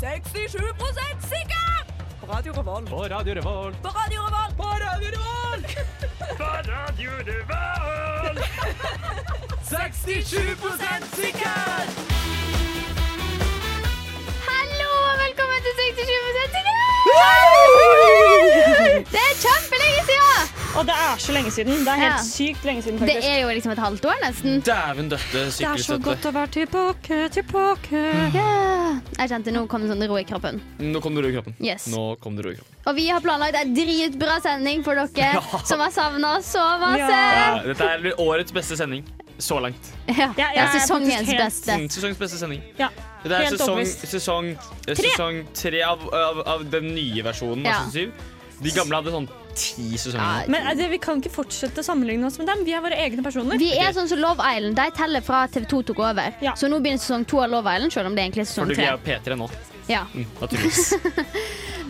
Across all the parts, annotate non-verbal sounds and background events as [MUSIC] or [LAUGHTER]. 67 sikker! På Radio Revolt. På Radio Revolt. På Radio Revolt. På Radio Revolt! [LAUGHS] 67 sikker! Hallo og velkommen til 67 sikker! Det er kjempelenge siden! Og det er så lenge siden. Det er helt Ja. sykt lenge siden, Det faktisk. er jo liksom et halvt år nesten. Dæven døtte Det er så sykkelstøtte. godt å være tilbake, tilbake. Ja. Jeg kjente nå kom det sånn ro i kroppen. Nå kom du ro i kroppen. Yes. Nå kom du ro i kroppen. Og vi har planlagt en dritbra sending for dere som har savna oss så masse. Ja. Ja, Eh, dette er årets beste sending. Så langt. Ja. Ja, jeg det er er sesongens faktisk helt- beste. Mm, Sesongens beste sending. Ja, Det er helt sesong, overbevist. sesong, eh, sesong tre av, av, av den nye versjonen Ja. av sesong syv. De gamle hadde sånn ti sesonger. Men eh, det, vi kan ikke fortsette å sammenligne oss med dem. Vi er våre egne personer. Vi er sånn som Love Island. De teller fra TV2 tok over. Ja. Så nå begynner sesong to av Love Island, selv om det egentlig er For sesong du tre. greier P3 nå. Ja. Mm, naturligvis.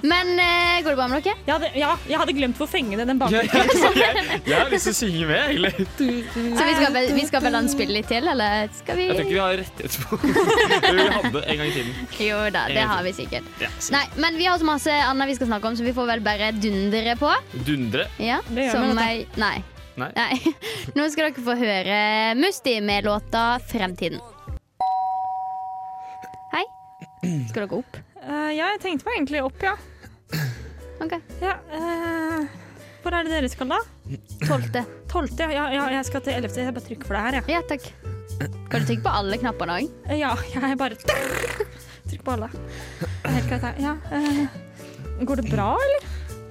Men eh, går det bra med dere? Jeg hadde, ja, jeg hadde glemt hvor fengende den [LAUGHS] jeg, bakgrunnen jeg, jeg har lyst til å synge med, egentlig. Så vi skal, vel- vi skal vel la den spille litt til, eller skal vi Jeg tror ikke vi har rettighet [LAUGHS] på det. Vi hadde en gang i tiden. Jo da, det har vi sikkert. Ja, så- Nei, men vi har så masse annet vi skal snakke om, så vi får vel bare dundre på. Dundre. Ja, Det gjør vi, vet du. jeg, nei. [LAUGHS] Nei. Nå skal dere få høre Musti med låta 'Fremtiden'. Hei. Skal dere opp? Eh, ja, jeg tenkte meg egentlig opp, ja. OK. ja eh, hvor er det dere skal, da? Tolvte. Tolvte? Ja, ja, jeg skal til ellevte. Jeg bare trykker for det her, jeg. Ja, takk. Kan du trykke på alle knappene òg? Eh, Ja, jeg bare trykker på alle. Det er Helt greit, jeg. ja. eh, går det bra, eller?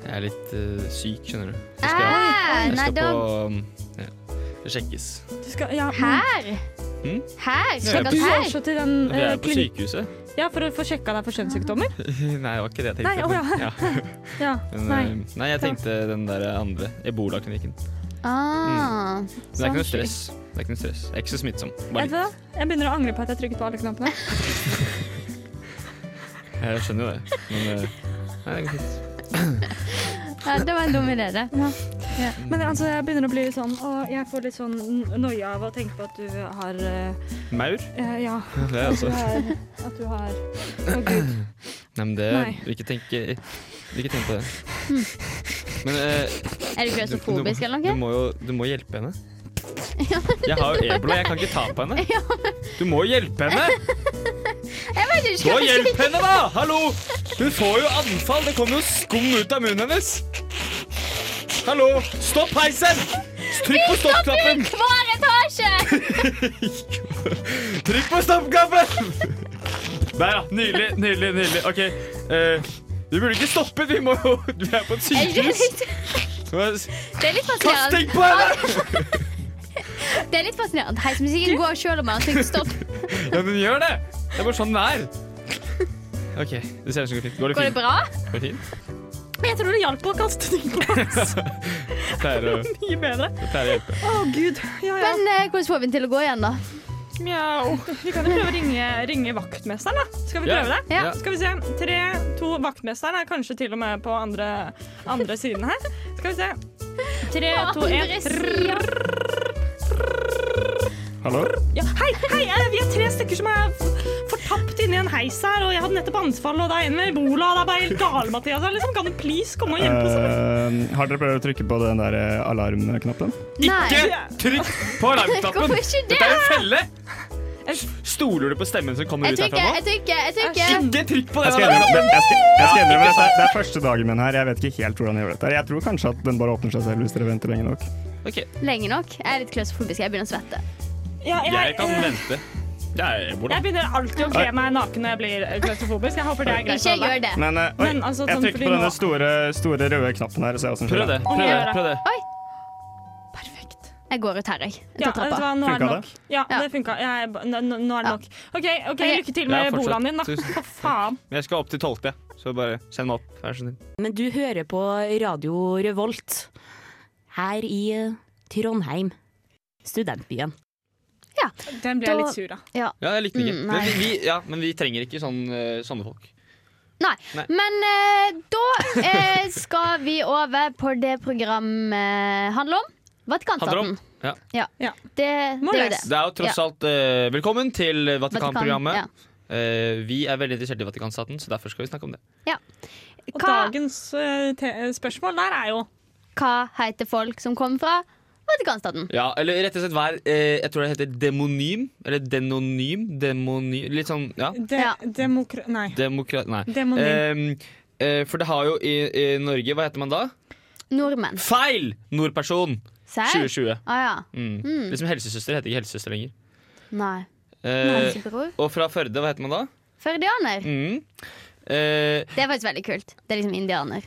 Jeg er litt eh, syk, skjønner du. Så skal jeg, Ah, jeg nei, skal da på um, ja, det sjekkes. Du skal, ja, mm. Her! Mm? Her! Ja, Sjekkes Du skal her. også til den Vi eh, er på klinikk- sykehuset. Ja, for å få sjekka deg for kjønnssykdommer? [LAUGHS] Nei, det var ikke det jeg tenkte. Nei, å ja. men- Ja. Men, Nei. eh, nei, jeg tenkte den der andre ebolaklinikken. Men Ah. det er ikke noe Sånn stress. Det er ikke noe stress. Jeg er ikke så smittsom. Bare Vet du litt. hva? Jeg begynner å angre på at jeg trykket på alle knappene. Jeg skjønner jo det. Men eh, nei, det går fint. Ja, det var en dum idé, det. Men altså, jeg begynner å bli litt sånn Og jeg får litt sånn n- noia av å tenke på at du har eh, Maur? eh, Ja, Det er du altså har, at du har Å, gud. Nei, men det Nei. Ikke tenk Ikke tenk på det. Men eh, Er du du- ikke du klaustrofobisk må- eller Du noe? må jo du må hjelpe henne. Jeg har jo ebola, jeg kan ikke ta på henne. Du må jo hjelpe henne! Jeg vet ikke Gå hva og jeg hjelp henne, da! Hallo! Hun får jo anfall. Det kommer jo skum ut av munnen hennes. Hallo! Stopp heisen! Trykk på stoppknappen! skal Hver [LAUGHS] etasje! Trykk på stoppknappen! Der, ja. Nydelig, nydelig, nydelig. OK. eh, vi burde ikke stoppe. Vi må jo Vi er på et Er det sykehus. litt- Det er litt Kast fascinerende. ting på henne! Det er litt fascinerende. Heismusikken går selv om man har trykt stopp. Ja, men gjør det. Det er bare sånn det er. OK. Det ser ut som det går fint. Går det Går fint? det bra? Går det fint? [LAUGHS] Men jeg tror det hjalp å kaste ting på [LAUGHS] oss. Pleier å, Mye bedre. pleier å hjelpe. Å, gud. Ja, ja. Men eh, hvordan får vi den til å gå igjen, da? Mjau. Vi kan jo prøve å ringe, ringe vaktmesteren, da. Skal vi Ja. prøve det? Ja. Ja. Skal vi se. Tre, to. Vaktmesteren er kanskje til og med på andre, andre siden her. Skal vi se. Tre, to, Andre én. siden. Hallo? Ja, hei, hei, eh, vi er tre stykker som er f- fortapt inni en heis her, og jeg hadde nettopp anfall, og det er en med ebola, og det er bare helt gale, Mathias. her, Liksom, kan du please komme og hjelpe oss? eller? Eh, har dere prøvd å trykke på den der eh, alarmknappen? Nei. Ikke trykk på alarmknappen! Hvorfor ikke det? Dette er en felle! Stoler du på stemmen som kommer Jeg ut trykker, herfra jeg nå? trykker, jeg trykker. Ikke trykk på Jeg skal den! innrømme, det, jeg skal, jeg skal innrømme dette, det er første dagen min her. Jeg vet ikke helt hvordan jeg gjorde dette. Jeg tror kanskje at den bare åpner seg selv hvis dere venter lenge nok. Ok, Lenge nok. Jeg er litt klaustrofobisk. Jeg begynner å svette. Ja, Jeg kan eh, vente. Det er ebola. jeg begynner alltid å kle meg naken når jeg blir eh, klaustrofobisk. Jeg håper det er greit. Ikke for alle. gjør det. Men, eh, oi, Men altså, sånn jeg trykte fordi på denne nå- store, store røde knappen her og se hva som skjer. Prøv det. Prøv det. Prøv det. Oi. Perfekt. Jeg går ut her, jeg. Ja, Ut av vet du trappa. hva, nå er det Funka nok. Ja, Ja. det funka. Jeg, er ba- nå, nå nå er det Ja. nok. OK, ok, Ok. lykke til Ja, med fortsett. ebolaen din, da. Tusen For faen. Men Jeg skal opp til tolvte, så bare send meg opp. Vær så snill. Men du hører på Radio Revolt her i eh, Trondheim, studentbyen. Den blir jeg Da- litt sur av. Ja, jeg likte den ikke. Mm, nei. Men vi, ja, men vi trenger ikke sånn, eh, sånne folk. Nei. Nei. Men eh, da eh, skal vi over på det programmet handler Handler om. om. Vatikanstaten. Ja. Ja. Ja. Det, det er jo det. Morales. Det er jo tross alt eh, Velkommen til Vatikan, Vatikanprogrammet. ja. Eh, vi er veldig interessert i Vatikanstaten, så derfor skal vi snakke om det. Og Hva, dagens eh, te spørsmål der er jo hva heter folk som kommer fra Vatikanstaten? Ja, eller rett og slett hver eh, Jeg tror det heter demonym. Eller denonym. Demony... Litt sånn, ja. de Ja. demokra... Nei. Demokrat... Nei. Demonym. Eh, eh, for det har jo i, i Norge Hva heter man da? Nordmenn. Feil! Nordperson Serr? 2020. Å ja. Mm. Mm. Liksom helsesøster heter ikke helsesøster lenger. Nei. Eh, Bror. og fra Førde, hva heter man da? Førdianer. Mm. Eh, Det er faktisk veldig kult. Det er liksom indianer.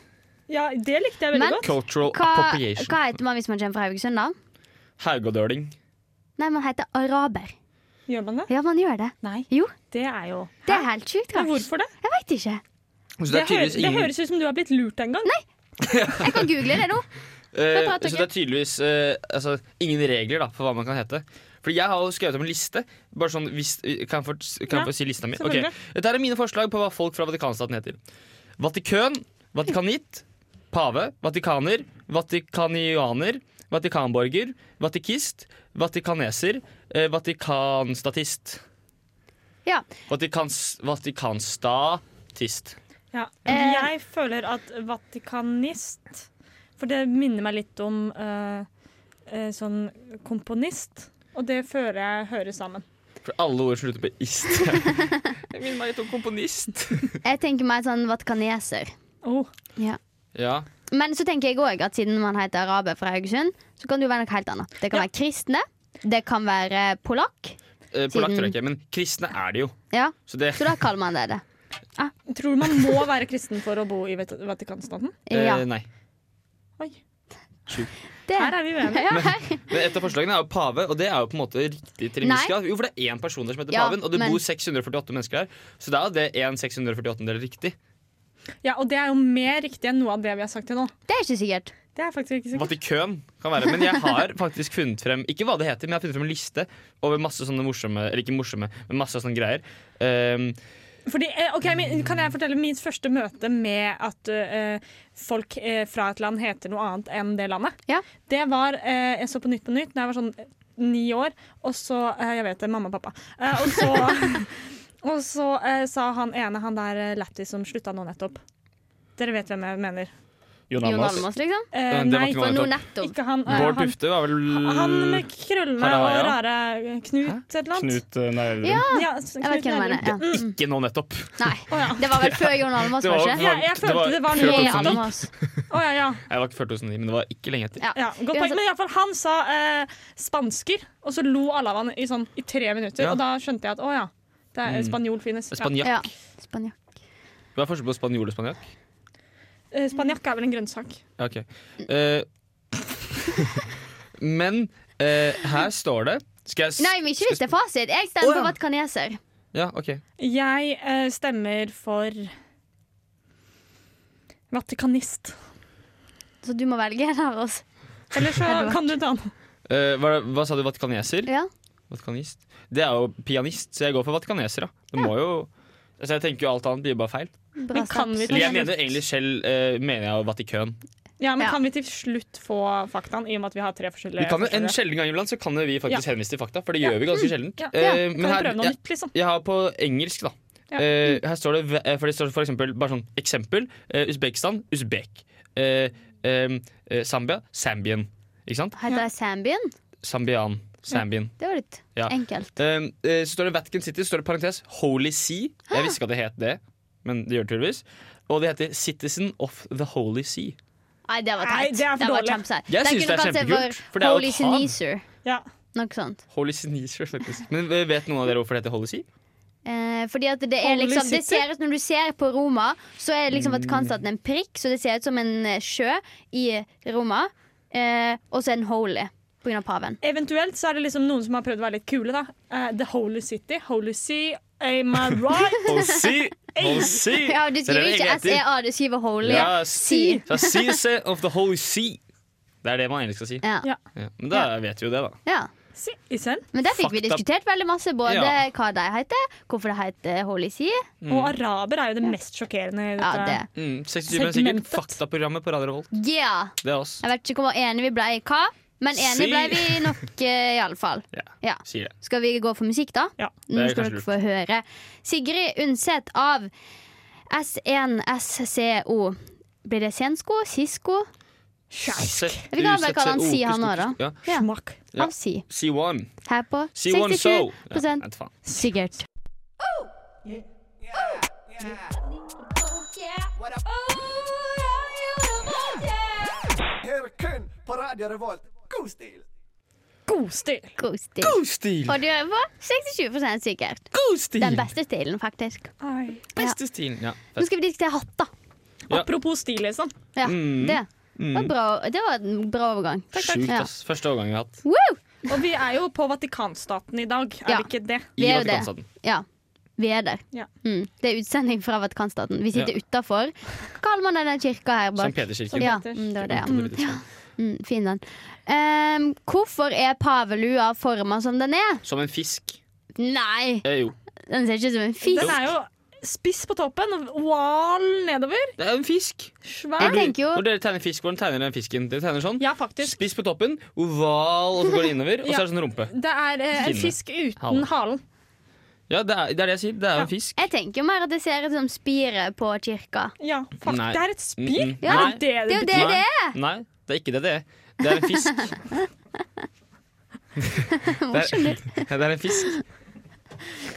Ja, det likte jeg veldig Men- godt. cultural Hva, appropriation. hva heter man hvis man kommer fra Haugesund, da? Haugadøling. Nei, man heter araber. Gjør man det? Ja, man gjør det. Nei. Jo. Det er jo Det er helt sjukt Men rart. Hvorfor det? Jeg veit ikke. Så det Det, er hø tydeligvis det ingen høres ut som du har blitt lurt en gang. Jeg kan google det nå. Eh, prater så det ikke. er tydeligvis eh, altså, ingen regler da, for hva man kan hete. Fordi jeg har jo skrevet om en liste. Bare sånn, hvis, kan jeg få, kan Ja, jeg få si lista mi? Ok. selvfølgelig. Dette er mine forslag på hva folk fra Vatikanstaten heter. Vatikøn, vatikanitt, pave, vatikaner, vatikanianer, vatikanborger, vatikist, vatikaneser, eh, vatikanstatist. Ja. Vatikans, vatikanstatist. Ja. Eh. Jeg føler at vatikanist For det minner meg litt om eh, eh, sånn komponist. Og det føler jeg hører sammen. For alle ord slutter på ist. [LAUGHS] Jeg minner meg litt om komponist. Jeg tenker meg sånn vatikaneser. Oh. Ja. Men så tenker jeg òg at siden man heter araber fra Haugesund, så kan det jo være noe helt annet. Det kan Ja. være kristne. Det kan være polakk. Eh, Polakk tror Siden- jeg ikke, men kristne er det jo. Ja, Så det, så da kaller man det det. Tror du man må være kristen for å bo i Vat- Vatikanstaten? Ja, eh, nei. Oi. det. Her er vi uenige. [LAUGHS] Ja, her. Men et av forslagene er jo pave, og det er jo på en måte riktig til en viss Nei. grad. Jo, for det er én person der som heter Ja, paven, og det men- bor 648 mennesker her. Så da er jo det en 648 del riktig. Ja, og det er jo mer riktig enn noe av det vi har sagt til nå. Det er ikke sikkert. Det er faktisk ikke sikkert. Vatikøn kan være. Men jeg har faktisk funnet frem ikke hva det heter, men jeg har funnet frem en liste over masse sånne morsomme Eller ikke morsomme, men masse sånne greier. Ehm, Fordi, eh, ok, men Kan jeg fortelle mitt første møte med at eh, folk eh, fra et land heter noe annet enn det landet? Ja. Det var eh, Jeg så på Nytt på Nytt da jeg var sånn eh, ni år, og så eh, Jeg vet det, mamma og pappa. Eh, og så, [LAUGHS] og så eh, sa han ene, han der eh, lættis som slutta nå nettopp Dere vet hvem jeg mener. Jon Jon Almaas. Almaas, liksom. Eh, det var nei, ikke For vanlig. nå nettopp. ikke han. eh, Bård han, Dufte var vel han med krøllene og Harald, rare eh, Knut et eller annet. Knut eh, Nærum. Ja, Ja, s- jeg vet hvem Knut du mener. Nærum. Ja. Mm. Ikke nå nettopp. Nei, Å ja. det var vel før Jon Almaas, Det var, var det ikke? Ja, jeg følte det var før noe- Jon 2009. Almaas. Å ja, ja. Jeg var ikke før 2009, men det var ikke lenge etter. Ja. Ja, godt poeng, Uansett- men i alle fall, Han sa eh, spansker, og så lo alle av han i, sånn, i tre minutter. Ja. Mm. Og da skjønte jeg at å ja, det er, spanjol finnes. Ja. Spanjakk. Ja. Spania. Hva er forskjellen på spanjol og spanjakk? Eh, Spanjakk er vel en grønnsak. Ja, Ok. Eh, men eh, her står det Skal jeg s- Nei, men ikke hvis det er fasit. Jeg stemmer Å, ja. på vatikaneser. Ja, ok. Jeg eh, stemmer for Vatikanist. Så du må velge en av oss. Eller [LAUGHS] så Eller hva? kan du ta den. Eh, hva, hva sa du? Vatikaneser? Ja. Vatikanist? Det er jo pianist, så jeg går for vatikaneser, da. Det må jo Altså, jeg tenker jo alt annet blir bare feil. Bra Men kan steps. vi, Eller jeg til, mener egentlig selv eh, mener jeg jo Vatikøn. ja, men Ja. kan vi til slutt få faktaen, i og med at vi har tre forskjellige Vi kan jo, en forskjellige- sjelden gang iblant så kan jo vi faktisk henvise til fakta, for det gjør vi ganske sjeldent. Ja. Eh, Kan vi prøve noe ja, nytt, liksom? Jeg har på engelsk, da. Ja. Eh, Mm. her står det, ve- eh, for det står for eksempel, bare sånn eksempel, eh, Usbekistan, Usbek. Eh, em, eh, Zambia, Zambian. Ikke sant? Heter det Sambien? Zambian. Zambian. Det var litt Ja. enkelt. Eh, eh, så står det Vatican City, så står det parentes Holy See. Jeg visste ikke at det het det, men det gjør det tydeligvis. Og det heter Citizen of the Holy See. Nei, det var Nei, teit. det er for var dårlig. kjempeteit. Jeg Den synes kunne det er kalt seg kjempekult, for for det er jo Holy et hav. Sneezer. Ja. Noe sånt. Holy [LAUGHS] Sneezer, faktisk. Men eh, vet noen av dere hvorfor det heter Holy See? Eh, fordi at det er Holy liksom Det City. ser ut Når du ser på Roma, så er liksom Mm. Vatikanstaten en prikk, så det ser ut som en eh, sjø i Roma. Eh, og så er den holy på grunn av paven. Eventuelt så er det liksom noen som har prøvd å være litt kule, da. Eh, the Holy City, Holy Sea, [LAUGHS] am I right? Holy See! Holy See! [LAUGHS] Ja, Du Det er skriver det ikke E egentlig heter. SEA, du skriver holy. Ja, Si. Så Citizen of the Holy See. Det er det man egentlig skal si. Ja. Ja. Ja, men da vet vi jo det, da. ja. Si, Isen. Men der fikk vi Fakta. diskutert veldig masse, både Ja. hva de heter, hvorfor de heter Holy Sea. Og araber er jo det mest sjokkerende i Ja, dette. det. Mm, 67 minutter sikkert Segmentet. Faktaprogrammet på Radio Revolt. Yeah. Det er oss. Jeg vet ikke hvor enige vi ble i hva, Men enig Si- ble vi [LAUGHS] nok, eh, i alle fall. Ja. Ja. Sier det. Skal vi gå for musikk, da? Ja. Nå Det er skal kanskje dere få høre Sigrid Undset av S1SCO. Blir det sensko? Sisko? Sett- Vi kan vel kalle han usett- Si, han oh, også, da. Ja. Ja. Smak. Ja. Av Si. C1. Her på C1 So. 67 Ja, jeg vet faen. sikkert. Her kun på Radio Revolt. God stil! God stil. God stil. God stil! Og du er på 67 sikkert. God stil! Den beste stilen, faktisk. Oi. Beste stilen. Ja, Nå fett. skal vi diskutere hatter. Ja. Apropos stil, liksom. Ja, Mm. det. Var bra, det var en bra overgang. Sjukt, Ja. ass. Første overgang vi har hatt. Woo! Og vi er jo på Vatikanstaten i dag, er Ja. vi ikke det? I Vi er jo det. Vatikanstaten. Ja, vi er der. Ja. Mm. Det er utsending fra Vatikanstaten. Vi sitter Ja. utafor. Hva kaller man denne kirka her St. bak? Peterskirken. Ja, Peters. mm, det var det, ja. Mm, Kontorets navn. mm, fin den. Ehm, hvorfor er pavelua forma som den er? Som en fisk. Nei, Eh, jo. den ser ikke ut som en Den fisk. er jo spiss på toppen, oval nedover. Det er en fisk! Jeg Svær. tenker jo Når dere tegner fisk, hvordan tegner dere den fisken? Dere tegner sånn. Ja, faktisk. Spiss på toppen, oval, og så går det innover, og så Ja. er det sånn rumpe. Det er eh, en Skinne. fisk uten Halen. halen. Ja, det er det, er det jeg sier. Det er jo en fisk. Jeg tenker jo mer at det ser ut som spiret på kirka. Ja, fuck, Nei. det er et spir. Mm-mm. Er Ja, det det Det er jo det det Nei. det er! Nei, det er ikke det det er. [LAUGHS] Det er en [LAUGHS] fisk. det, [LAUGHS] er, det er en fisk.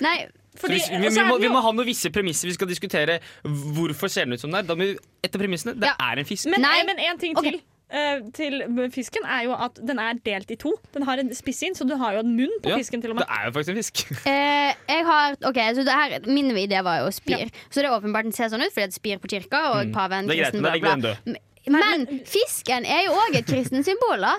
Nei, Så hvis- vi, vi, må, vi må ha noen visse premisser. Vi skal diskutere hvorfor ser den ut som den er. Da må vi, etter premissene. Det Ja. Mm. er en fisk. Men, Nei. eh, men en ting Ok. til. eh, Til fisken er jo at den er delt i to. Den har en spissinn, så du har jo en munn på Ja, fisken. til og det med er jo faktisk en fisk. eh, jeg har Ok, så det her, min idé var jo spir. Så det er åpenbart den ser sånn ut fordi det er et spir på kirka og paven Mm. Det er greit, kristen men da bla, ligger bla. den død. Men fisken er jo òg et kristent symbol, da.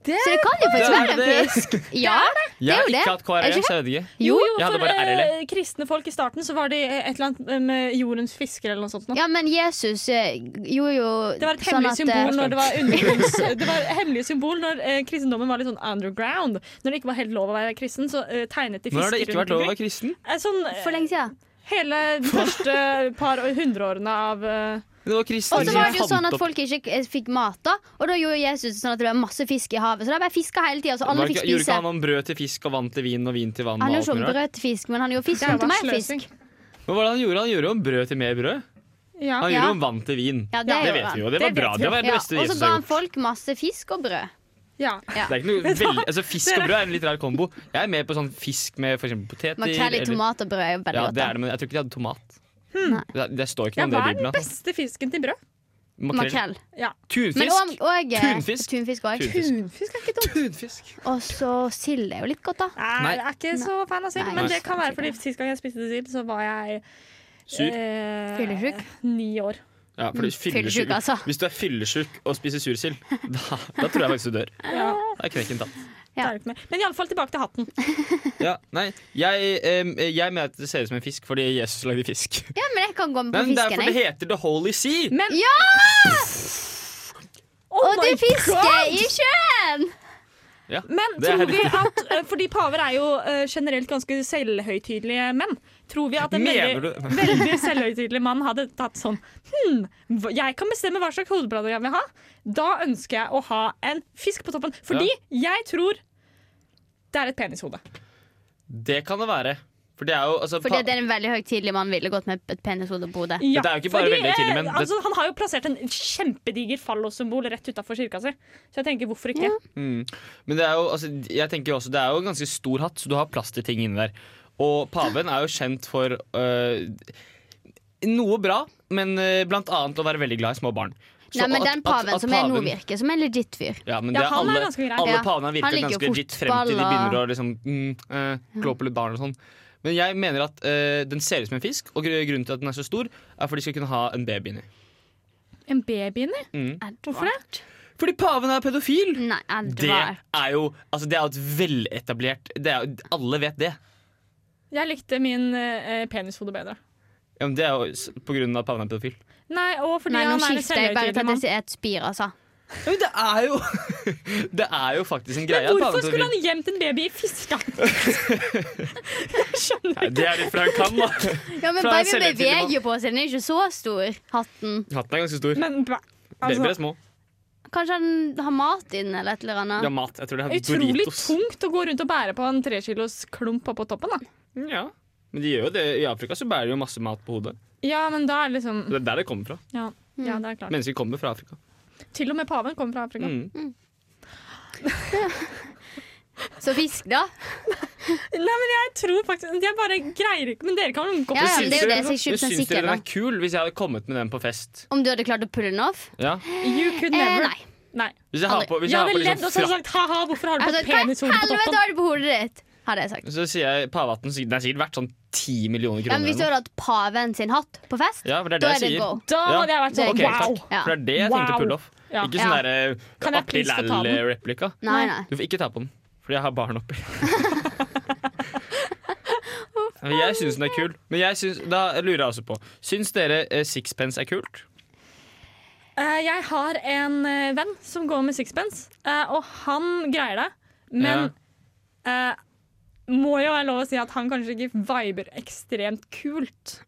[LAUGHS] Det Så det kan jo faktisk Det er være en det. [LAUGHS] fisk. Ja, det Jeg er har jo det. ikke hatt Er det KRL, ikke så jeg vet ikke. Jo, jo, Ja, det for bare er det, eh, kristne folk i starten så var de eh, et eller annet eh, med jordens fisker eller noe sånt. nå. ja, men Jesus eh, gjorde jo Det var et sånn hemmelig at, eh, symbol når det [LAUGHS] var undergrunns Det var et hemmelig symbol når eh, kristendommen var litt sånn underground. Når det ikke var helt lov å være kristen, så eh, tegnet de Når har det fisker ikke vært rundt lov å være omkring. kristen? Eh, Sånn eh, For lenge siden. hele de første par og- hundreårene av eh, Det var kristne Og så som var det jo fant sånn at opp- folk ikke eh, fikk mat, da. Og da gjorde Jesus sånn at det var masse fisk i havet. Så da bare fiska hele tida, så alle Var det fikk ikke- Gjorde ikke spise. han om brød til fisk og vann til vin og vin til vann? Han og gjorde ikke alt om mulig rart? brød til fisk, men han gjorde fisk det om til var mer sløsing. fisk. Men hva var det han gjorde? Han gjorde om brød til mer brød. Ja. Han Ja. gjorde om vann til vin. Ja, det gjorde vet han. vi jo. Det var Det bra. vet vi. Det var det Ja, beste og så Jesus ga har han gjort. folk masse fisk og brød. ja. Det er ikke [LAUGHS] noe veldig, altså Fisk og brød er en litt rar kombo. Jeg er mer på sånn fisk med for eksempel poteter. Makrell i eller- tomat og brød er jo veldig Ja, godt. det er da. det, Hmm. men jeg tror ikke de hadde tomat. Nei. Det, det står ikke Ja, noe om det hva i er den Bibelen. altså. beste fisken til brød? Makrell. Makrell. Men og, Tunfisk. og eh, Tunfisk. tunfisk òg. Tunfisk. Tunfisk er ikke dumt. Tunfisk. Og så sild er jo litt godt, da. Nei, jeg er ikke så fan av sild, Nei. men det kan være fordi sist gang jeg spiste sild, så var jeg Sur. eh, Fyllesyk? Ni år. Ja, for du er Fyllesyk, fyllesyk. altså. Hvis du er fyllesyk og spiser sursild, [LAUGHS] da, da tror jeg faktisk du dør. Ah. Ja, Da er knekken tatt. det er det ikke mer. Men iallfall tilbake til hatten. Ja, nei, jeg, em, jeg mener at det ser ut som en fisk fordi Jesus lagde fisk. Ja, men jeg kan gå med Nei, på men fisken, Mm. derfor det jeg. heter The Holy Sea. Men Ja! Oh Og det my er fiske God! i sjøen! Ja, Men det er tror det. vi at eh, Fordi paver er jo eh, generelt ganske selvhøytidelige menn. Tror vi at en Mener veldig, veldig selvhøytidelig mann hadde tatt sånn Hm, hva- jeg kan bestemme hva slags hodeplater jeg vil ha. Da ønsker jeg å ha en fisk på toppen. Fordi jeg tror det er et penishode. Det kan det være. For det er jo altså, Fordi pa- det er en veldig høytidelig mann ville gått med et penishode på hodet. Ja, det er jo ikke bare fordi, veldig tidlig, men eh, det- altså, Han har jo plassert en kjempediger fallossymbol rett utafor kirka si. Så jeg tenker, hvorfor ikke? mm. Men det er jo, altså, jeg tenker jo også, det er jo en ganske stor hatt, så du har plass til ting inni der. Og paven er jo kjent for øh, noe bra, men øh, blant annet å være veldig glad i små barn. Så Nei, men at- den at- paven at som er nå, paven- virker som en legit fyr. Ja, men Ja, det er han er alle, ganske grei. alle Ja. pavene har Han virket liker jo ganske litt frem til de fotball og- begynner å liksom, mm, eh, klå på litt barn og sånn. Men jeg mener at eh, den ser ut som en fisk, og gr- grunnen til at den er så stor, er for de skal kunne ha en baby inni. En baby inni? Mm. Hvorfor det? Fordi paven er pedofil! Nei, Det Edvard. er jo altså det er jo et veletablert det er, jo- Alle vet det. Jeg likte min eh, penishode bedre. Ja, men det er jo s- på grunn av paven er pedofil. Nei, og fordi Nei, nå han er en skifter jeg bare selvhøytidelig til mann. at det er et spir, altså. Ja, men det er jo [LAUGHS] Det er jo faktisk en greie. at paven Hvorfor er skulle pedofil. han gjemt en baby i [LAUGHS] fiskehatten? Jeg skjønner Nei, ikke. Det er litt fra han kan, da. [LAUGHS] Ja, men For han er Baby selvhøytidelig beveger jo på seg, den er ikke så stor, hatten. Hatten er ganske stor. Men ba- Babyer altså, er små. Kanskje han har mat i den, eller et eller annet. Ja, mat. Jeg tror det er Utrolig Doritos. tungt å gå rundt og bære på en trekilos klump oppå toppen. da Mm, Ja. Men de gjør jo det. i Afrika så bærer de jo masse mat på hodet. Ja, men da er det liksom Det er der det kommer fra. Ja, ja det er klart. Mennesker kommer fra Afrika. Mm. Til og med paven kommer fra Afrika. Mm. Så fisk, da. Nei, men jeg tror faktisk Jeg bare greier ikke Men dere kan jo godt Ja, ja, men si Syns det er dere- jo det som jeg er Men Syns 20% dere sikker den på. er kul hvis jeg hadde kommet med den på fest? Om du hadde klart å pulle den off? Ja. You could Eh, never. nei. nei. Hvis jeg har på, hvis jeg jeg har på hadde ledd og så liksom hadde frakk, jeg sagt ha-ha, hvorfor har du Altså, på hva penishode på helvete toppen? har du på hodet ditt? Hadde jeg sagt. så sier jeg pavehatten sikkert- Den er sikkert verdt sånn ti millioner Ja, kroner. men hvis du eller noe. hadde hatt paven sin hatt på fest, ja, for det er da det er det jeg go. sier. Da Ja. hadde jeg vært sånn Ok, wow! takk. For det er det jeg tenkte Wow. pull off. Ja. Ikke Ja. sånn derre Kan jeg Apple please få ta den? Lally-replika. Nei, nei. Du får ikke ta på den, fordi jeg har barn [LAUGHS] oppi. Men jeg syns den er kul. Men jeg syns, da lurer jeg også på Syns dere eh, sixpence er kult? Eh, jeg har en eh, venn som går med sixpence, eh, og han greier det. Men eh, må jo være lov å si at han kanskje ikke viber ekstremt [LAUGHS] kult.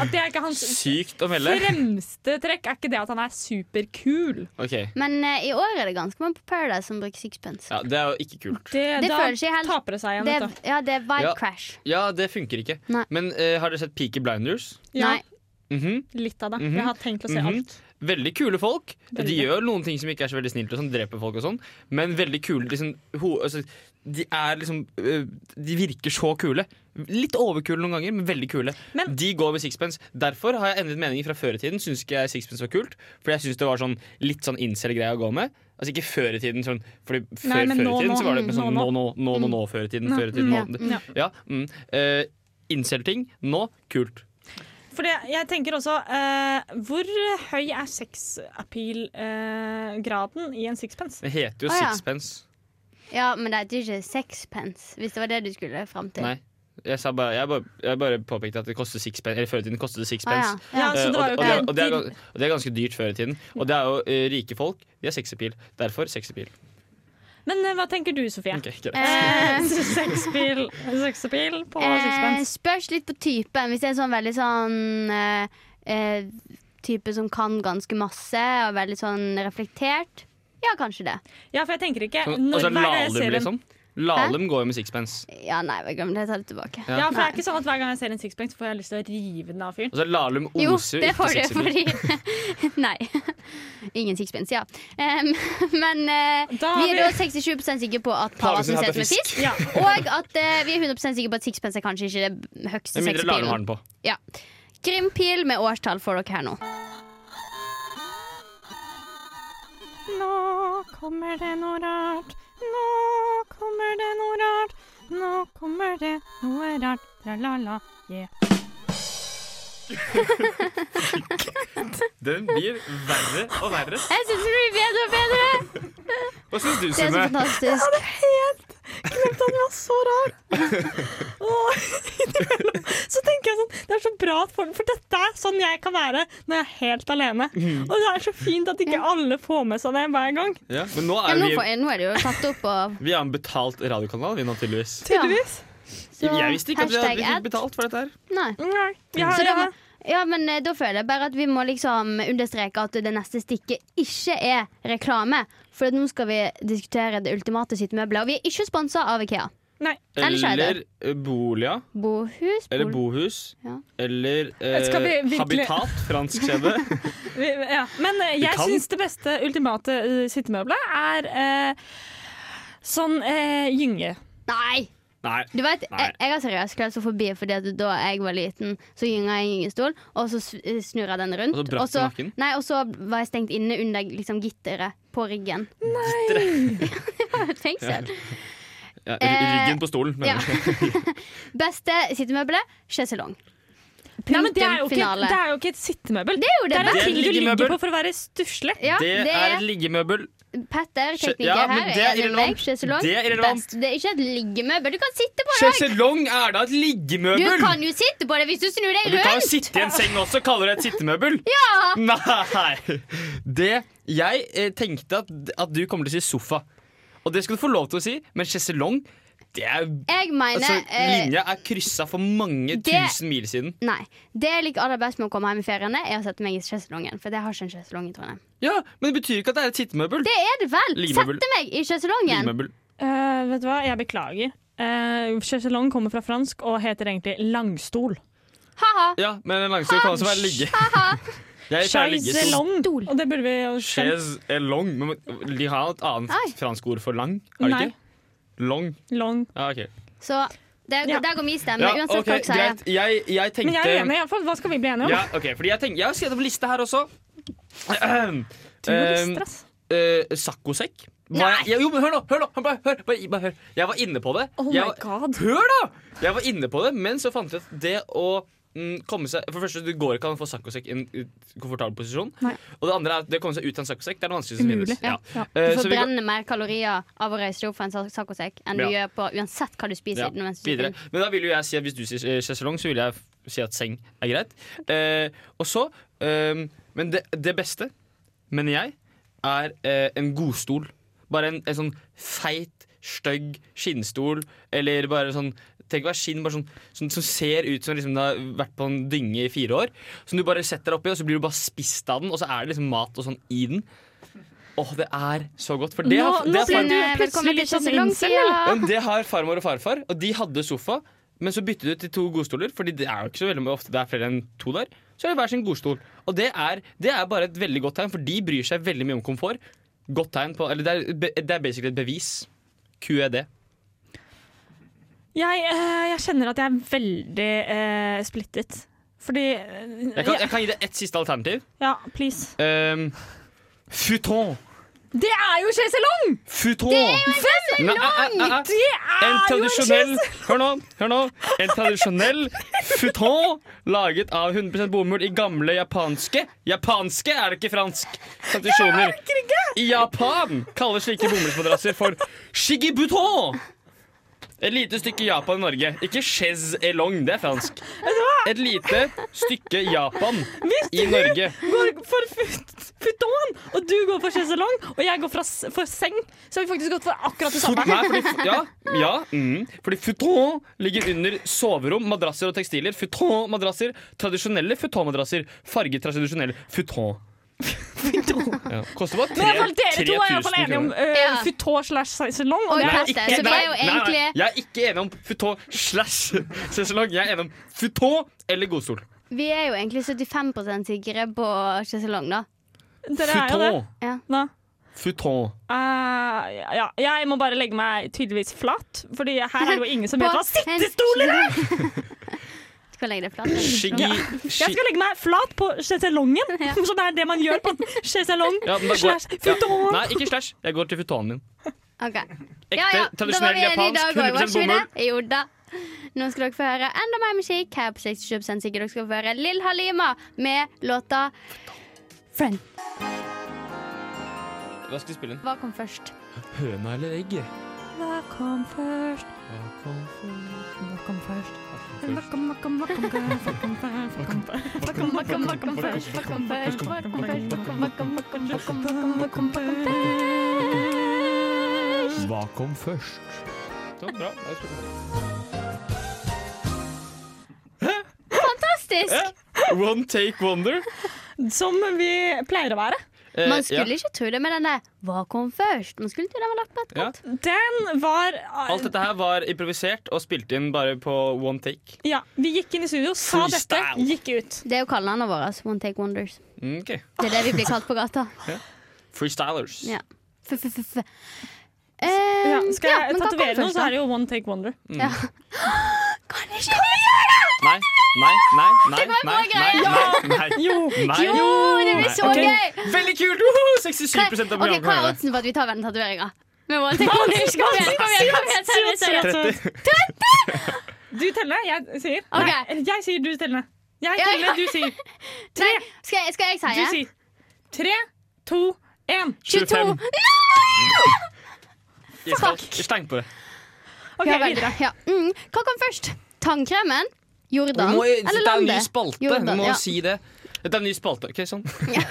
At det er ikke hans Sykt å melde. fremste trekk, er ikke det at han er superkul. Ok, Men eh, i år er det ganske mange på Paradise som bruker sixpence. ja, Det er jo ikke kult. Det, Det da føles ikke helt- taper det seg igjen. Det, vet du. ja, det er vibe Ja. crash. Ja, det funker ikke. Nei. Men eh, har dere sett Peaky Blinders? Ja, Nei. Mhm. litt av det. Mhm. Jeg har tenkt å se Mhm. alt. Veldig kule folk. De Veldig. gjør noen ting som ikke er så veldig snilt, og sånn, dreper folk og sånn, men veldig kule. Liksom, ho altså, de er liksom øh, De virker så kule. Litt overkule noen ganger, men veldig kule. Men- de går med sixpence. Derfor har jeg endret mening fra før i tiden. Syns ikke jeg sixpence var kult, for jeg syns det var sånn litt sånn incel-greie å gå med. Altså ikke før i tiden, sånn, fordi før, Nei, men før nå, i tiden nå. så var det med sånn Nå, Mm. nå, nå, nå, nå, nå, før i tiden, Nå. før i tiden. Ja, Nå. ja. Ja, mm. Eh, Incel-ting nå, kult. For det, jeg tenker også eh, Hvor høy er sexappeal-graden eh, i en sixpence? Det heter jo Å, ja. sixpence. Ja, men det heter jo ikke sexpence, hvis det var det du skulle fram til. Nei. Jeg, sa bare, jeg, bare, jeg bare påpekte at det koster sixpence. Eller før i tiden kostet det Ah, ja. sixpence. Ja. Ja, Eh, så det og, var og, jo det er, ikke og, det er, gan- og det er ganske dyrt før i tiden. Og det er jo eh, rike folk. De har sexappeal. Derfor sexappeal. Men eh, hva tenker du, Sofie? Ok, greit. [LAUGHS] Eh, Sexappeal sexappeal på eh, sixpence. spørs litt på typen. Hvis det er en sånn veldig sånn eh, eh, Type som kan ganske masse og veldig sånn reflektert. Ja, kanskje det. Ja, for jeg tenker Eh, ikke Sånn, når, og så hver gang jeg Lahlum, ser en- liksom. Lahlum går jo med sixpence. Ja, nei, glem det. Jeg tar det tilbake. Ja. Ja, for det Nei. er ikke sånn at hver gang jeg ser en sixpence, så får jeg lyst til å rive den av fyren. Og så Lahlum Jo, oser jo det ikke får du sexappeal. fordi [LAUGHS] Nei. Ingen sixpence, ja. Em, [LAUGHS] men eh, Da har vi er vi- da 67 sikre på at Paven sin Pavasen hatt med setter med fisk. Ja. Og at eh, vi er 100 sikre på at sixpence er kanskje ikke det høyeste Med mindre Lahlum har sexpilen. den på. Ja. Grim pil med årstall får dere her nå. Nå kommer det noe rart. Nå kommer det noe rart. Nå kommer det noe rart. Tra-la-la. Den blir verre og verre. Jeg syns det blir bedre og bedre! Hva syns du, Det er sånn- så Sunne? fantastisk. Så rar! Åh, innimellom så tenker jeg sånn Det er så bra at folk For dette er sånn jeg kan være når jeg er helt alene. Og det er så fint at ikke alle får med seg det hver gang. Ja, men nå Ja, er nå, vi får, nå er det jo tatt opp og vi er en betalt radiokanal, vi nå, tydeligvis. Tydeligvis. så, Jeg visste ikke at vi hadde- hashtag vi ad. fikk betalt for dette her. Nei. Nei. Ja, Så da, ja. må- ja, men eh, da føler jeg bare at vi må liksom understreke at det neste stikket ikke er reklame. For at nå skal vi diskutere det ultimate sytemøbelet, og vi er ikke sponsa av Ikea. Nei. Eller så er det- Eller eh, Bolia. Bohus Eller bol- bohus. Ja. Eller eh, Skal vi virkelig- habitat, fransk [LAUGHS] skjede. Vi, ja. Men eh, jeg kan- syns det beste ultimate eh, sittemøblet er eh, sånn eh, gynge. Nei! Nei. Du vet, Nei. jeg, jeg har seriøst klaustrofobi fordi at da jeg var liten, så gynga jeg en gyngestol, og så s- eh, snur jeg den rundt. Og så brakk du nakken? Nei, og så var jeg stengt inne under liksom, gitteret på ryggen. [LAUGHS] Tenk selv. Ja, ry- Eh, ryggen på stolen. mener ja. [LAUGHS] jeg. Beste sittemøbelet sjeselong. Nei, men det er, Punktum jo ikke, finale. det er jo ikke et sittemøbel. Det er jo det, Det er Det en er ting du liggemøbel. ligger på for å være stusslig. Ja, det, er et liggemøbel. Petter, Skje- tekniker ja, men her, det er er enig med irrelevant. deg. Sjeselong. Det er irrelevant. Best. Det er ikke et liggemøbel. Du kan sitte på det. også. Sjeselong er da et Du liggemøbel! kan jo sitte på det hvis du snur deg Du kan jo rundt. sitte i en seng også. Kaller det et sittemøbel? [LAUGHS] Ja. Nei! Det Jeg eh, tenkte at, at du kommer til å si sofa. Og det skal du få lov til å si, men sjeselong Det er, Jeg mener altså, eh, linja er kryssa for mange det- tusen mil siden. Nei. Det jeg liker aller best med å komme hjem i feriene, er å sette meg i sjeselongen. For jeg har ikke en sjeselong i Trondheim. Ja, Men det betyr ikke at det er et sittemøbel. Det er det vel! Ligemøbel. Sette meg i sjeselongen! Liggemøbel. Eh, vet du hva, jeg beklager. Uh, Sjeselong kommer fra fransk og heter egentlig langstol. Ha-ha! Ja, men en langstol kan også være ligge. [LAUGHS] Jeg pleier å ligge i stol. Chaiselong. Og det burde vi jo skjønt. Chaise er long. Men de har et annet Nei. fransk ord for lang, har de Nei. ikke? Long. Long. Ja, ok. Så der, Ja. der går min stemme. Ja, uansett ok, hva dere sier. greit. Jeg, jeg tenkte Men jeg er enig, i alle fall. Hva skal vi bli enige om? Ja, ok, fordi jeg, tenk, jeg har skrevet opp liste her [CLEARS THROAT] også. Ehm, Du må liste, ass. Eh, Saccosekk. Var Jeg, jo, men hør nå! Hør nå hør, bare, hør, bare, bare hør. Jeg var inne på det. Oh my jeg, god. Hør, da! Jeg var inne på det, men så fant jeg ut at det å mm, komme seg For det første, du går ikke an å få saccosekk i en uh, komfortabel posisjon. Nei. Og det andre er at det å komme seg ut av en saccosekk det er det vanskeligste som Umulig. finnes. Ja. Ja. Eh, Du så vi går forbrenner mer kalorier av å reise deg opp fra en sa- saccosekk enn du Ja. gjør på uansett hva du spiser. ja, den mens du videre. spiser. Men da vil jo jeg si at hvis du sier eh, sjeselong, så vil jeg f- si at seng er greit. Eh, og så eh, Men det, det beste, mener jeg, er eh, en godstol. Bare en, en sånn feit, stygg skinnstol, eller bare sånn Tenk å være skinn bare sånn, som, som ser ut som liksom det har vært på en dynge i fire år. Som du bare setter deg oppi, og så blir du bare spist av den, og så er det liksom mat og sånn i den. Åh, det er så godt. For det Nå- har- nå det har blir far- Men, du eh, plutselig velkommen litt til sånn sjeselongtida! men det har farmor og farfar, og de hadde sofa. Men så byttet de ut til to godstoler, Fordi det er jo ikke så veldig ofte det er flere enn to der. Så er det hver sin godstol. Og det er, det er bare et veldig godt tegn, for de bryr seg veldig mye om komfort. Godt tegn på, eller det er, be- det er basically et bevis. E QED. Jeg, eh, jeg kjenner at jeg er veldig eh, splittet. Fordi eh, Jeg kan, jeg kan gi deg ett siste alternativ. Ja, please. Um, futon. Det er jo sjeselong! Futon! Det er jo langt! Det er En jo en tradisjonell Hør nå, hør nå. En tradisjonell futon laget av 100 bomull i gamle japanske Japanske er det ikke fransk tradisjoner. I Japan kalles slike bomullsmadrasser for shigibuton. Et lite stykke Japan i Norge. Ikke chaise elong, det er fransk. Et lite stykke Japan i Norge. går for fut- futon, og du går for sjeselong, og jeg går for, s- for seng. Så har vi faktisk gått for akkurat det samme. Nei, fordi, ja, ja mm, fordi futon ligger under soverom, madrasser og tekstiler. Futon-madrasser. Tradisjonelle futon-madrasser. Farget tradisjonelle futon. Ja. Koster bare Men i hvert fall tre- dere to er i hvert fall 3000 enige om kroner. eh, Ja. futon slash sjeselong. Oi, Og det pass er deg, ikke så vi er jo greit. Nei, nei, egentlig- jeg er ikke enig om futon slash [LAUGHS] sesong. Jeg er enig om futon eller godstol. Vi er jo egentlig 75 sikre på sjeselong, da. Dere er jo det. Futon. Nå. Futon. Eh, ja, jeg må bare legge meg tydeligvis flat, Fordi her er det jo [LAUGHS] ingen som vet hva sittestoler er! er! Du kan legge deg flat. Shigi Jeg skal legge meg flat på sjeselongen, Ja. [LAUGHS] som er det man gjør [LAUGHS] på sjeselong. Ja, men da går- Slash futon. Nei, ikke slash. Jeg går til futonen min. Ok. Ekte, Ja, ja, da var tradisjonell vi enige i japansk. dag òg, 100 var ikke vi bomull. det? Jo da. Nå skal dere få høre enda mer musikk her på 67 sikkert Dere skal få høre Lill Halima med låta Friend. Hva skal vi spille inn? Hva kom først? Høna eller egget? Hva kom først? Hva kom først? Hva kom først? Hva kom Hva først? kom, hva kom, hva kom, hva kom, hva kom først? Hva kom, hva kom, hva kom først? Hva kom først? Hva kom først? Hva kom, hva kom, hva kom, hva kom, hva kom, hva kom, hva kom først? Hva kom først? Så, bra. Da er det spørsmål. Fantastisk! [LAUGHS] One take wonder. Som vi pleier å være. Eh, Man skulle ikke tro det med den der 'hva kom først'? Man skulle tro den var lagt på etterkant. Den var ja. Alt dette her var improvisert og spilt inn bare på one take. Ja, vi gikk inn i studio, sa dette, Freestyle. gikk ut. Det er jo kallenavnet vårt. One Take Wonders. Mm, ok. Det er det vi blir kalt på gata. Freestylers. Ja. F-f-f-f. Ja, Um, skal jeg men hva kom tatovere noe, først, så da? er det jo one take wonder. Kan ikke vi gjøre det?! Nei, nei, nei, nei, var en nei, bra greie. nei, nei, nei. Jo! Nei. Jo, det blir Nei. så Ok. gøy! Veldig kult! Woho! 67 av Hva- ok, programmet Hva er kan gjøre det. oddsen for at vi tar den tatoveringa? Med One Take Wonders? Kom igjen, kom igjen! kom igjen, seriøst, seriøst. Du teller, jeg sier. Ok. Nei, jeg sier, du teller. Jeg Ja, ja. teller, du [LAUGHS] sier. Tre, Nei, skal, jeg- skal jeg si du det? sier. Tre, to, én. 22. 25. Jeg skal- jeg stenger på det. OK, Ja, vel. videre. Ja. Mm. Hva kom først? Tannkremen? Jordan? Eller det er en ny landet? spalte. Jordan, Du må ja. si det. Det er en ny spalte. Ok, sånn. Hva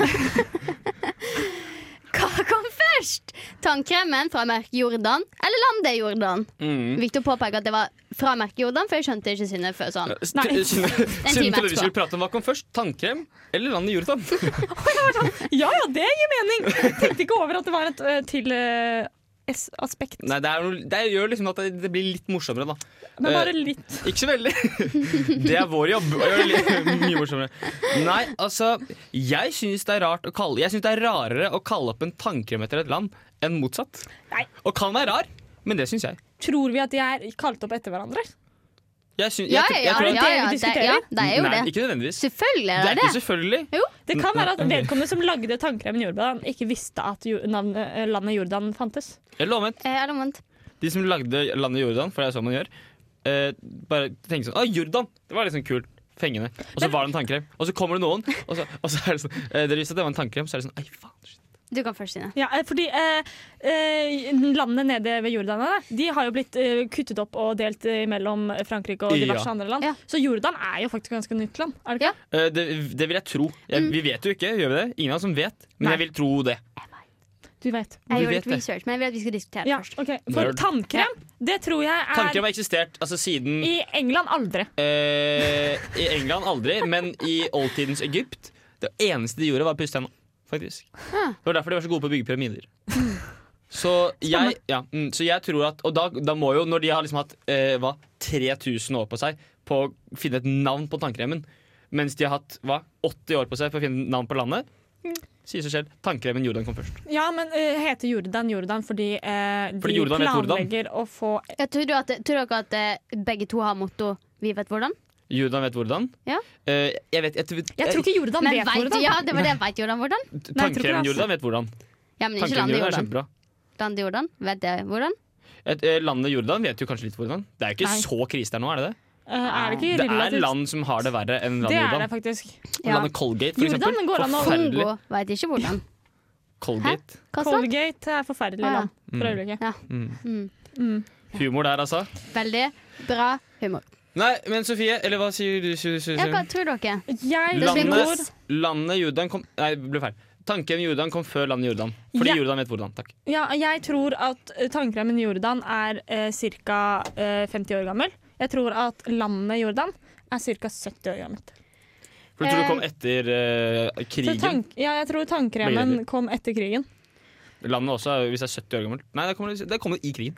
kom først? først tannkremen fra merket Jordan eller landet Jordan? Mm. Viktig å påpeke at det var fra merket Jordan, for jeg skjønte ikke sinne før sånn. Nei. Synne synne time trodde vi etterpå. skulle prate om hva kom først. Tannkrem eller landet Jordan? Ja ja, det gir mening! Jeg tenkte ikke over at det var et eh, til eh, s- aspekt. Nei, det, er, noe- det gjør liksom at det, det blir litt morsommere, da. Men eh, bare litt. Ikke så [LAUGHS] veldig. Det er vår jobb. å gjøre det litt [LAUGHS] Mye morsommere. Nei, altså Jeg syns det er rart å kalle Jeg synes det er rarere å kalle opp en tannkrem etter et land enn motsatt. Nei. Og kan være rar, men det syns jeg. Tror vi at de er kalt opp etter hverandre? jeg, syns- jeg Ja, tror- ja, jeg ja. tror- ja, ja, vi det, ja det er jo Nei, det. Ikke nødvendigvis. Selvfølgelig Det er er det ikke det. selvfølgelig. Det kan være at vedkommende som lagde tannkremen Jordan, ikke visste at jo- navnet, eh, landet Jordan fantes. Eller omvendt. Eh, Er det vondt? De som lagde landet Jordan, for det er sånn man gjør, eh, bare tenker sånn Å, Jordan! Det var liksom kult. Fengende. Og så var det en tannkrem. Og så kommer det noen, og så, og så er det sånn eh, Dere visste at det var en tannkrem, så er det sånn Ei, faen. shit». Du kan først, Sine. Ja, eh, fordi eh, eh, landene nede ved Jordan her, de har jo blitt eh, kuttet opp og delt eh, mellom Frankrike og diverse Ja. andre land. Ja. Så Jordan er jo faktisk ganske nytt land. Er det ikke? Eh, det, det vil jeg tro. Jeg, vi vet jo ikke, gjør vi det? Ingen av oss som vet, men Mm. Nei. jeg vil tro det. Du vet. Jeg Du gjør vet litt det. research, men jeg vil at vi skal diskutere det Ja, først. ok. For Nerd. tannkrem, det tror jeg er Tannkrem har eksistert altså siden i England aldri. eh, I England aldri, men i oldtidens Egypt. Det eneste de gjorde, var å pusse tenna, faktisk. Det var derfor de var så gode på å bygge [LAUGHS] pyramider. Så jeg, ja, mm, så jeg tror at Og da, da må jo, når de har liksom hatt eh, hva, 3000 år på seg på å finne et navn på tannkremen, mens de har hatt hva, 80 år på seg på å finne et navn på landet, mm, sier seg selv. Tannkremen Jordan kom først. Ja, men eh, heter Jordan Jordan fordi eh, de Fordi Jordan heter Jordan. planlegger å få Jeg tror, du at, tror dere at eh, begge to har motto 'Vi vet hvordan'? Jordan vet hvordan. Ja. Eh, jeg vet, jeg, tror- eh, Jeg tror ikke Jordan Men vet vet, Jordan. ja, det var det. Veit Jordan hvordan? Nei, jeg tror ikke det, Tannkremen altså. Jordan vet hvordan. Ja, men Tannkremen ikke landet Jordan er Jordan. kjempebra. Landet Jordan, vet det hvordan? Et, eh, landet Jordan vet jo kanskje litt hvordan. Det er jo ikke Nei. så krise der nå, er det det? Eh, er det ikke Det er relativt? land som har det verre enn Det landet er det Jordan. faktisk. Ja. Landet Colgate, for Jordan eksempel. går an å- Forferdelig. Kongo veit ikke hvordan. Colgate. Hva sa han? Colgate er forferdelig Ah, ja. Mm. land Mm. for øyeblikket. Mm. Humor der, altså. Veldig bra humor. Nei, men Sofie, eller hva sier du? Sier, sier, Ja, hva sier. tror dere? Jeg Det blir Landet- tror kos. Landet Jordan kom Nei, det ble feil. Tanken Jordan kom før landet Jordan. Fordi Ja. Jordan vet hvordan. Takk. Ja, jeg tror at eh, tannkremen Jordan er eh, ca. Eh, 50 år gammel. Jeg tror at landet Jordan er ca. 70 år gammelt. For du tror Eh, det kom etter eh, Så krigen? tank ja, jeg tror Hva gjør tannkremen det? kom etter krigen. Landet også, er- hvis det er 70 år gammelt. Nei, det kommer, det kommer i krigen.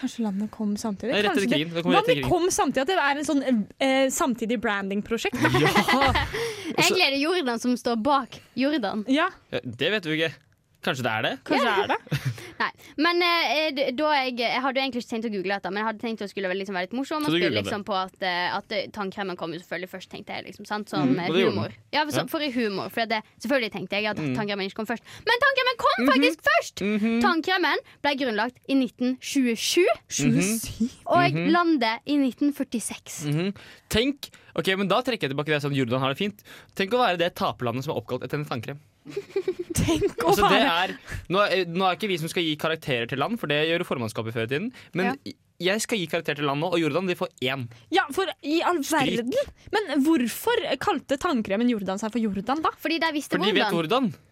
Kanskje landet kom Nei, samtidig? rett etter Kanskje krigen. Det kommer rett Hva om etter det krigen. kom samtidig? At det er en sånn eh, samtidig [LAUGHS] branding-prosjekt? da? Egentlig er det Jordan som står bak Jordan. Ja, Ja, Eh, Det vet vi ikke. Kanskje det er det? kanskje det er det. [LAUGHS] Nei. Men eh, d- da jeg, jeg hadde jo egentlig ikke tenkt å google dette, men jeg hadde tenkt å skulle være- liksom være litt morsom. Så Og du skulle googlet liksom på at, eh, at eh, tannkremen kom jo selvfølgelig først, tenkte jeg. liksom, sant? Som eh, Mm. og det gjorde humor. den. Ja, for, Ja. Mm. for i humor. For det, selvfølgelig tenkte jeg at tannkremen ikke kom først. Men tannkremen kom Mhm. faktisk først! Tannkremen ble grunnlagt i 1927, og landet i 1946. Mhm. Tenk, ok, men Da trekker jeg tilbake det sånn Jordan har det fint. Tenk å være det taperlandet som er oppkalt etter en tannkrem. Tenk å Altså, det være er, nå, er- nå er ikke vi som skal gi karakterer til land, for det gjør jo formannskapet før i tiden. Men jeg skal gi karakter til land nå, og Jordan de får én. Ja, for i all Skrik. verden! Men hvorfor kalte tannkremen Jordan seg for Jordan, da? Fordi de visste For de vet hvordan. hvordan.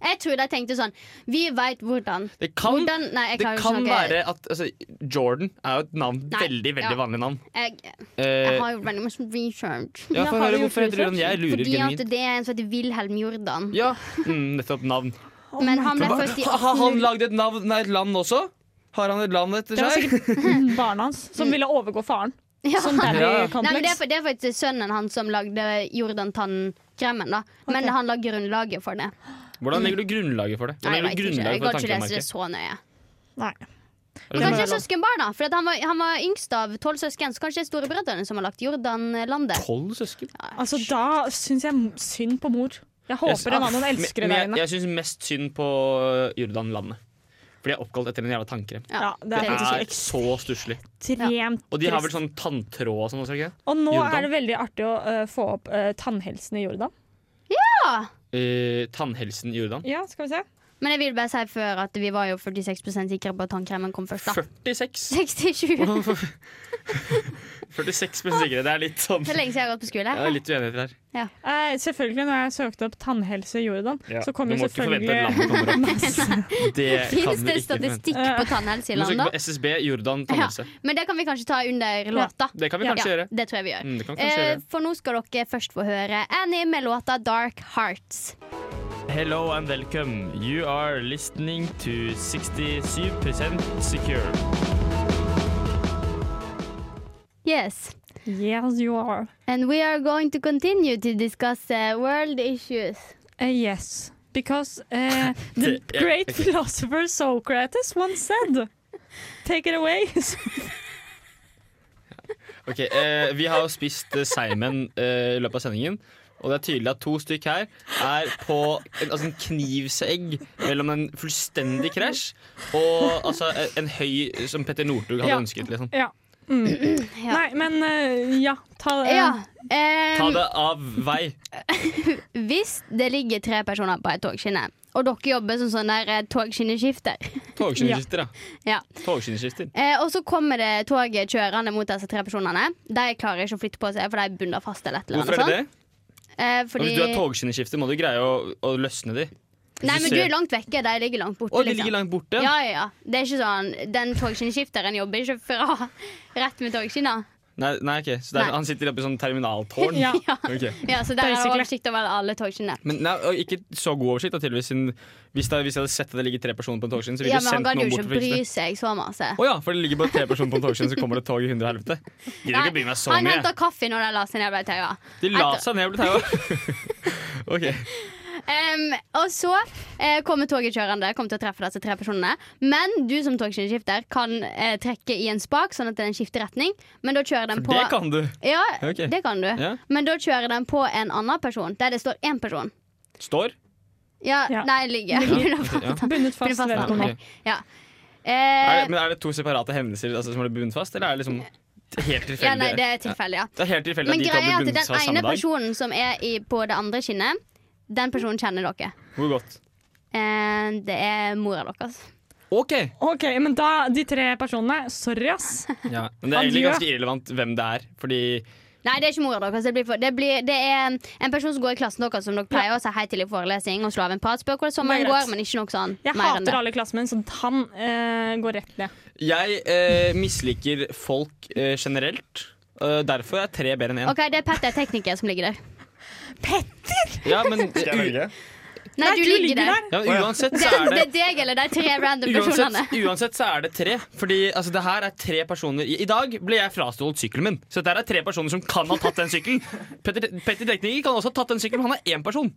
Jeg tror de tenkte sånn Vi veit hvordan. Det kan, Hvordan- nei, jeg det klarer ikke å kan snakke- være at altså, Jordan er jo et navn. Nei, Veldig veldig ja. vanlig navn. Jeg, Eh, jeg har jo veldig mye research. ja, Ja, Få har høre du gjort hvorfor heter Jordan. Jeg lurer Fordi at genuint. det er en som heter Wilhelm Jordan. Ja, mm, nettopp navn. Oh Men han ble født [LAUGHS] i Har han 18... lagd et navn Nei, et land også? Har han et land etter Det var seg? [LAUGHS] sikkert barna hans som ville overgå faren. Ja. Som daddy Ja. Nei, men det, er, complex. fa- det er faktisk sønnen hans som lagde Jordan-tannkremen. da Men Ok. han la grunnlaget for det. Hvordan legger du grunnlaget for det? Nei, Hvordan legger jeg, vet du ikke. jeg grunnlaget kan for ikke lese det tankemerket? så nøye. Nei. Men Det må kanskje være lov. søskenbarn, da. For at han, var, han var yngst av tolv søsken. Så kanskje det er storebrødrene som har lagt Jordan-landet. Tolv søsken? Altså, da syns jeg synd på mor. Jeg håper en annen elsker det Ah, Men der jeg, inne. jeg syns mest synd på øh, Jordan-landet. For de er oppkalt etter en jævla tannkrem. Ja, det Det er er faktisk så stusslig. ekstremt Og de har vel trist. sånn tanntråd og sånn også, ikke det? Og nå Jordan. er det veldig artig å eh, få opp eh, tannhelsen i Jordan. Eh, tannhelsen i Jordan. Ja, skal vi se. Men jeg vil bare si før at vi var jo 46 sikre på at tannkremen kom først, da. [LAUGHS] 46 67. 46 sikre. Det er litt sånn Det er lenge siden jeg har gått på skole. Det er litt uenigheter her. Eh, selvfølgelig, når jeg søkte opp tannhelse i Jordan, Ja, så kom du jo må ikke forvente at selvfølgelig landet [LAUGHS] kommer opp. masse Det kan Fins vi det ikke forvente. statistikk på tannhelse i Du må søke landet? på SSB Jordan tannhelse. Men det kan vi kanskje ta under låta. Det kan vi Ja. kanskje gjøre. Det tror jeg vi gjør. Mm, det kan vi kanskje Eh, gjøre. for nå skal dere først få høre Annie med låta 'Dark Hearts'. Hello and welcome. You are listening to 67% secure. Yes. Yes, you are. And we are going to continue to discuss uh, world issues. Eh, yes. Because [LAUGHS] eh, the Det- ja, great ok. philosopher Socrates once said Take it away. [LAUGHS] Ok, eh, Vi har jo spist eh, seigmenn eh, i løpet av sendingen. Og det er tydelig at to stykk her er på en, altså en knivsegg mellom en fullstendig krasj og altså, en, en høy som Petter Northug hadde Ja. ønsket. liksom ja. Mm. Ja. Nei, men eh, ja. Ta det. Ja. Ta ehm, det av vei. hvis det ligger tre personer på et togskinne, og dere jobber som sånn der eh, togskinneskifter Togskinneskifter, da. Ja. Togskinneskifter. Eh, og så kommer det toget kjørende mot disse tre personene. De klarer ikke å flytte på seg, for de er bundet fast. eller et eller annet Hvorfor er det det? sånt. Eh, Og fordi... Hvis du er togskinneskifter, må du greie å, å løsne de. Hvis Nei, men du ser- er langt vekke. De ligger langt borte. liksom. Å, de ligger langt borte? Ja, ja, ja. Det er ikke sånn, Den togskinnskifteren jobber ikke fra rett med togskinner. Nei, nei, ok Så det er, Nei. han sitter oppe i sånn terminaltårn? Ja. Ok. [LAUGHS] Ja, Så der er det Basically. oversikt over alle togskinnene. Men nei, og ikke så god oversikt, da, tydeligvis. Siden hvis, det, hvis jeg hadde sett at det ligger tre personer på en togskinne, så ville Ja, jeg men han sendt gadd jo noen ikke bort for å fikse bry det. seg så masse. Å ja, for det ligger bare tre personer på en togskinne, så kommer det et tog i hundre og helvete. Gidder ikke å bry meg så Han henta mye. kaffe når de la seg ned og ble taua. De la seg ned og ble taua. [LAUGHS] OK. Em, og så eh, kommer toget kjørende, kommer til å treffe disse tre personene. Men du som togskinneskifter kan eh, trekke i en spak, sånn at den skifter retning. Men da kjører den For på det kan du. Ja, Ok. det kan du. Ja. Men da kjører den på en annen person, der det står én person. [LAUGHS] Står. Ja, Ja. nei, ligger. Ja, Ja. ok, ja. Bundet fast. Bundet fast, Ja, vedkommende. ok. Er det, [LAUGHS] Eh, men er det to separate hendelser altså, som ble bundet fast, eller er det liksom helt tilfeldig? ja, nei, det er tilfeldig, ja. Det er helt tilfeldig Men at de to greia er ble at bundet den fast ene samme dag. personen som er i, på det andre skinnet, den personen kjenner dere. Hvor godt? Eh, det er mora deres. OK. OK, men da de tre personene Sorry, ass. Ja. Men det er egentlig Adjø. ganske irrelevant hvem det er, fordi Nei, det er ikke mora deres. Det, blir for, det, blir, det er en person som går i klassen deres, som dere pleier å si hei til i forelesning og slå av en prat. Spør hvordan sommeren Det er går, greit. men ikke noe sånn mer Jeg enn hater det. alle i klassen min, så han eh, går rett ned. Jeg eh, misliker folk eh, generelt. Eh, derfor er tre bedre enn én. OK, det er Petter tekniker som ligger der. Ja, men, Skal jeg velge? Nei, du, ligger der. ja, men uansett [LAUGHS] Det, så er det det er deg eller de tre random personene. [LAUGHS] Uansett, uansett så er det tre. Fordi altså, det her er tre personer I, i dag ble jeg frastjålet sykkelen min. Så dette her er tre personer som kan ha tatt den sykkelen. Petter, Petter Tekniker kan også ha tatt den sykkelen, men han er én person.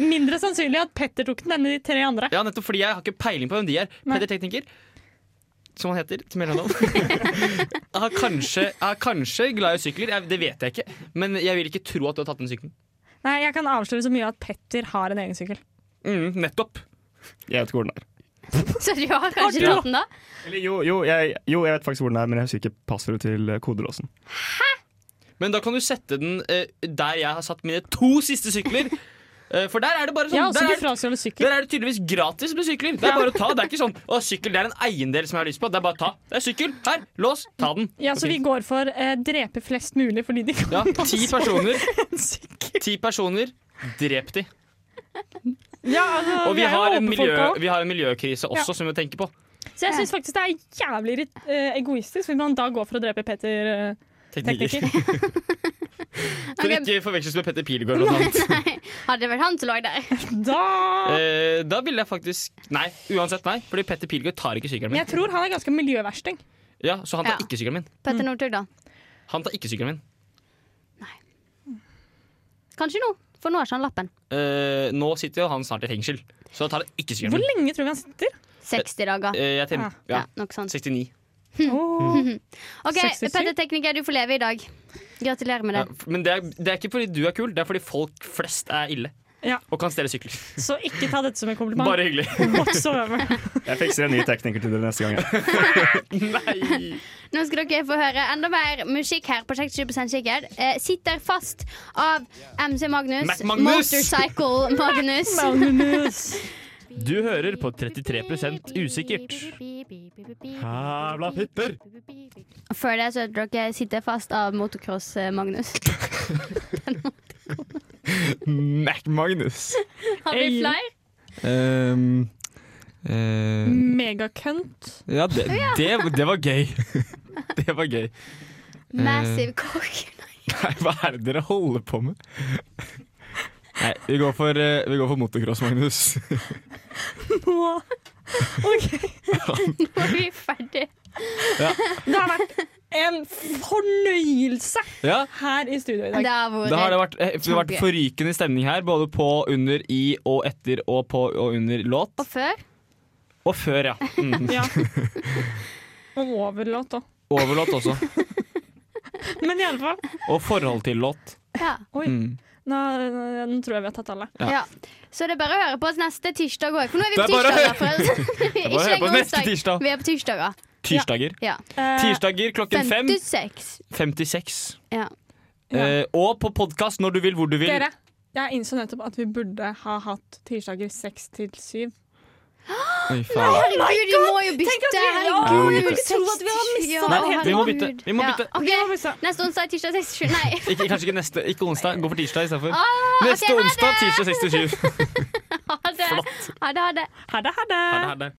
Mindre sannsynlig at Petter tok den enn de tre andre. Ja, nettopp fordi jeg har ikke peiling på hvem de er. Nei. Petter Tekniker, som han heter til mellomnavn, er, kanskje- er kanskje glad i sykler. Jeg, det vet jeg ikke. Men jeg vil ikke tro at du har tatt den sykkelen. Nei, Jeg kan avsløre så mye at Petter har en egen sykkel. Mm, nettopp. Jeg vet ikke hvor den er. Så du har kanskje tatt den, da? Eller jo, jo, jeg, jo, jeg vet faktisk hvor den er, men jeg husker ikke passordet til eh, kodelåsen. Men da kan du sette den eh, der jeg har satt mine to siste [LAUGHS] sykler. Eh, for der er det bare sånn Jeg har også der er blitt det- frastjålet sykkel. Der er det tydeligvis gratis med sykler. Det er bare å ta, det er [LAUGHS] ikke sånn å, sykkel det er en eiendel som jeg har lyst på. Det er bare å ta. Det er sykkel. Her, lås, ta den. Ja, Så vi går for eh, drepe flest mulig fordi de kan Ja, [LAUGHS] ti personer. en sykkel. Ti personer. Drep de. Ja, altså, Og vi er jo har, en åpne folk miljø, også. vi har en miljøkrise også, som vi må tenke på. Så jeg syns faktisk det er jævlig irrit- eh, egoistisk hvis man da går for å drepe Petter eh, Teknikker. [LAUGHS] tekniker. Kan ikke forveksles med Petter Pilgaard eller noe annet. Hadde det vært han som lå der. Da Eh, da ville jeg faktisk Nei, uansett nei. Fordi Petter Pilgaard tar ikke sykkelen Men jeg min. tror han er ganske miljøversting. Ja, Så han tar Ja. ikke sykkelen min. Petter Northug, da. Han tar ikke sykkelen min. Kanskje nå, for nå har ikke han lappen. Eh, nå sitter jo han snart i fengsel, så da tar han ikke sykkelen Hvor min. lenge tror vi [LAUGHS] han sitter? 60 dager. Eh, jeg tenker, ja, Ja, noe sånt. 69. Åh. OK, 67? Petter Tekniker, du får leve i dag. Gratulerer med Ja, det. f- men det er, det er ikke fordi du er kul, det er fordi folk flest er ille. Ja. Og kan stjele sykler. Så ikke ta dette som en kompliment. Bare hyggelig. Whatsoever. Jeg fikser en ny tekniker til dere neste gang. jeg. Nei. Nå skal dere få høre enda mer musikk her på 60 sikkert. Eh, sitter fast av MC Magnus, Mac Magnus! [LAUGHS] Motorcycle Magnus, Magnus. [LAUGHS] Du hører på 33% usikkert. Jævla fitter! Før det så hørte dere 'Sitte fast' av eh, [LAUGHS] Motocross-Magnus. Mac-Magnus. Han blir Hey. flau. Um, Mm. eh, Megakønt. ja, det, det, det var gøy. Det var gøy. Eh. Massive cock. [LAUGHS] Nei, hva er det dere holder på med? Nei, vi går for, eh, vi går for motocross, Magnus. Nå- Nå er vi ferdig. Det har vært en fornøyelse [LAUGHS] Ja, her i studio i Det dag. har vært da har det vært, eh, det har vært forrykende stemning her, både på, under, i og etter, og på og under låt. Og før Og før, ja. [LAUGHS] Mm. Ja. Og overlåt òg. Overlåt også. Men i alle fall, Og forhold til låt. ja. Mm. nå, nå tror jeg vi har tatt alle. Ja. Så det er bare å høre på oss neste tirsdag òg. For nå er vi Det på er bare å tirsdager. høre- [LAUGHS] forresten. er bare å Ikke høre på lenger neste onsdag. tirsdag. Vi er på tirsdager. Tirsdager. Ja. Eh, Tirsdager klokken fem. 56. 56. Ja. Eh, og på podkast når du vil, hvor du vil. dere, jeg innså nettopp at vi burde ha hatt tirsdager seks til syv. Oi, faen. Herregud, vi må jo Oh Tenk at bytte! vi- Ja, vi må Herregud. bytte. Jeg trodde at vi hadde mistet Ja, det Nei, vi må bytte. Vi må Ja, bytte. ok. Vi må bytte. Neste onsdag, tirsdag 67. Nei. Ikke, kanskje ikke neste. Ikke onsdag. Gå for tirsdag istedenfor. Ah, Neste ok, onsdag, tirsdag 67. Ha det. Ha det, ha det. Ha det, ha det. Ha det, ha det.